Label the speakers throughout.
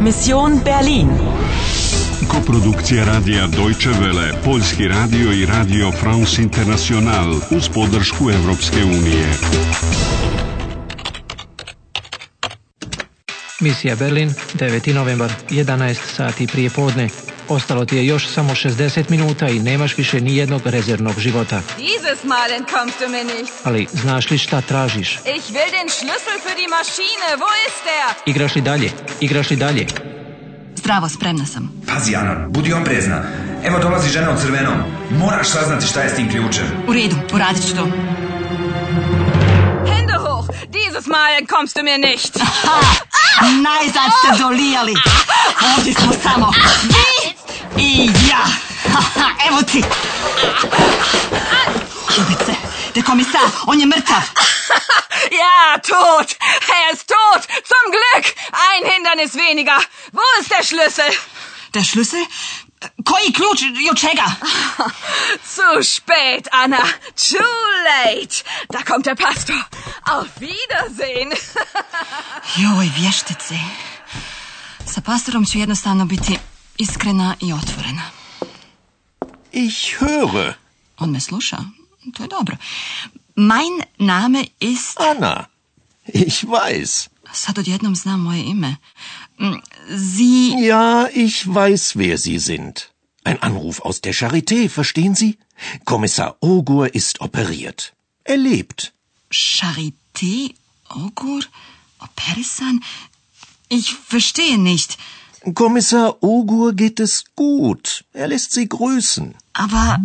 Speaker 1: Mission Berlin.
Speaker 2: Koprodukcija radija Deutsche Welle, Poljski radio i radio France International uz podršku Europske unije.
Speaker 3: Misija Berlin, 9. novembar, 11 sati prije podne. Ostalo ti je još samo 60 minuta i nemaš više ni jednog rezervnog života.
Speaker 4: Dieses Mal entkommst du mir nicht.
Speaker 3: Ali znaš li šta tražiš?
Speaker 4: Ich will den Schlüssel für die Maschine. Wo ist der?
Speaker 3: Igraš li dalje? Igraš li dalje?
Speaker 5: Zdravo, spremna sam.
Speaker 6: Pazi, Ana, budi oprezna. Evo dolazi žena u crvenom. Moraš saznati šta je s tim ključem.
Speaker 5: U redu, uradit ću to.
Speaker 4: Hände hoch. Dieses Mal entkommst du mir nicht.
Speaker 5: Ha! Najzad ste dolijali. Ovdje smo samo vi i ja. Ha, ha, Evo ti. Ljubice, dekomisar, on je mrtav.
Speaker 4: Ja, tot. Er ist tot. Zum Glück. Ein Hindernis weniger. Wo ist der Schlüssel?
Speaker 5: Der Schlüssel? Koji ključ i od čega?
Speaker 4: Zu spät, Anna. Too late. Da kommt der Pastor. Auf Wiedersehen.
Speaker 5: Joj, vještice. Sa pastorom ću jednostavno biti iskrena i otvorena.
Speaker 7: Ich höre.
Speaker 5: On me sluša. To je dobro. Mein Name ist...
Speaker 7: Anna. Ich weiß.
Speaker 5: Sad odjednom znam moje ime. Mm, Sie...
Speaker 7: Ja, ich weiß, wer Sie sind. Ein Anruf aus der Charité, verstehen Sie? Kommissar Ogur ist operiert. Er lebt.
Speaker 5: Charité, Ogur, Operisan? Ich verstehe nicht.
Speaker 7: Kommissar Ogur geht es gut. Er lässt Sie grüßen.
Speaker 5: Aber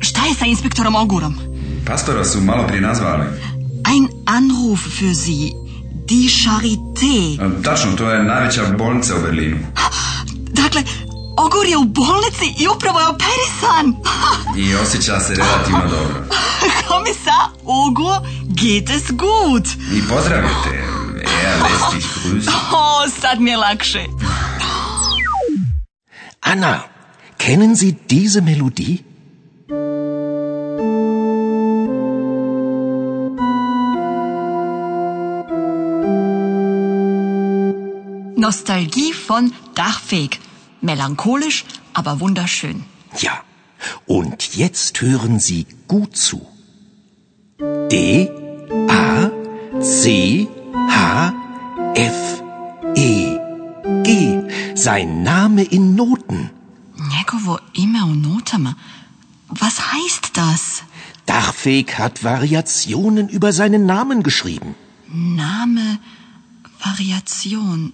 Speaker 5: šta je sa inspektorom Ogurom?
Speaker 6: Pastora su malo prije nazvali.
Speaker 5: Ein Anruf für Sie. Die Charité.
Speaker 6: E, Tačno, to je najveća bolnica u Berlinu.
Speaker 5: Dakle, Ogur je u bolnici i upravo je operisan.
Speaker 6: I osjeća se relativno dobro.
Speaker 5: Kommissar Ogur geht es gut.
Speaker 6: I pozdravite. Er lässt dich grüßen.
Speaker 5: O, sad mi je lakše.
Speaker 7: Anna, kennen Sie diese Melodie?
Speaker 5: Nostalgie von Dachfeg. Melancholisch, aber wunderschön.
Speaker 7: Ja. Und jetzt hören Sie gut zu. D A C H F E G. Sein Name in Noten.
Speaker 5: Njegovo ime u notama. Was heißt das?
Speaker 7: Dachfeg hat Variationen über seinen Namen geschrieben.
Speaker 5: Name, Variation.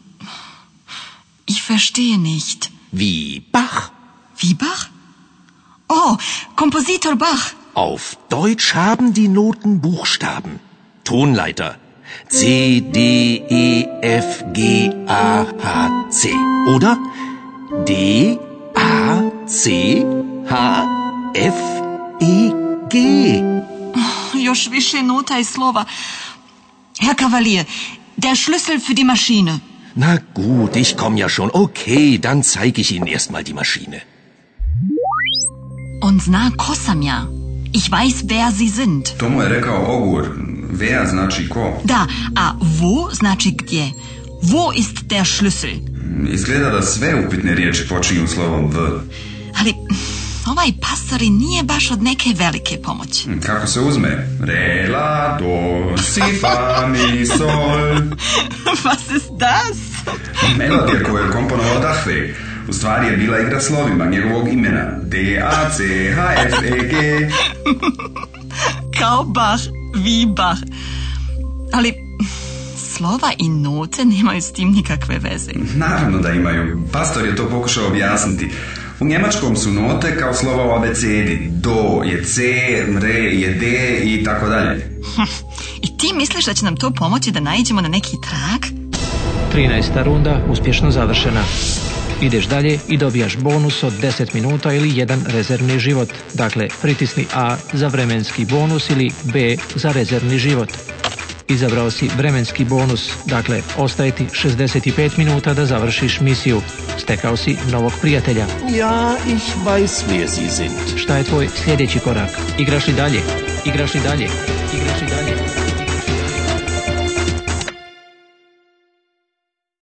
Speaker 5: Ich verstehe nicht.
Speaker 7: Wie Bach.
Speaker 5: Wie Bach? Oh, Kompositor Bach.
Speaker 7: Auf Deutsch haben die Noten Buchstaben. Tonleiter. C, D, E, F, G, A, H, C. Oder? D, A, C, H, F, E, G.
Speaker 5: Još više nota i slova. Herr Kavalier, der Schlüssel für die Maschine.
Speaker 7: Na gut, ich komm ja schon. Okay, dann zeige ich Ihnen erstmal die Maschine.
Speaker 5: On zna ko sam ja. Ich weiß, wer Sie sind.
Speaker 6: To mu je rekao Ogur. Vea znači ko.
Speaker 5: Da, a wo znači gdje. Wo ist der Schlüssel?
Speaker 6: Izgleda da sve upitne riječi počinju slovom V.
Speaker 5: Ali ovaj pastor i nije baš od neke velike pomoći.
Speaker 6: Kako se uzme? Re, la, do, si, fa, mi, sol.
Speaker 5: Was ist das?
Speaker 6: Melodija koju je komponovao Dahve. U stvari je bila igra slovima njegovog imena. D, A, C, H, F, E, G.
Speaker 5: Kao Bach, wie Bach. Ali slova i note nemaju s tim nikakve veze.
Speaker 6: Naravno da imaju. Pastor je to pokušao objasniti. U njemačkom su note kao slova u abecedi. Do je C, re je D i tako dalje.
Speaker 5: I ti misliš da će nam to pomoći da naiđemo na neki trag?
Speaker 3: 13. runda uspješno završena. Ideš dalje i dobijaš bonus od 10 minuta ili jedan rezervni život. Dakle, pritisni A za vremenski bonus ili B za rezervni život. Izabrao si vremenski bonus, dakle ostaje ti 65 minuta da završiš misiju. Stekao si novog prijatelja.
Speaker 7: Ja, ich weiß, wer Sie sind.
Speaker 3: Šta je tvoj sljedeći korak? Igraš li dalje? Igraš li dalje? Igraš li dalje?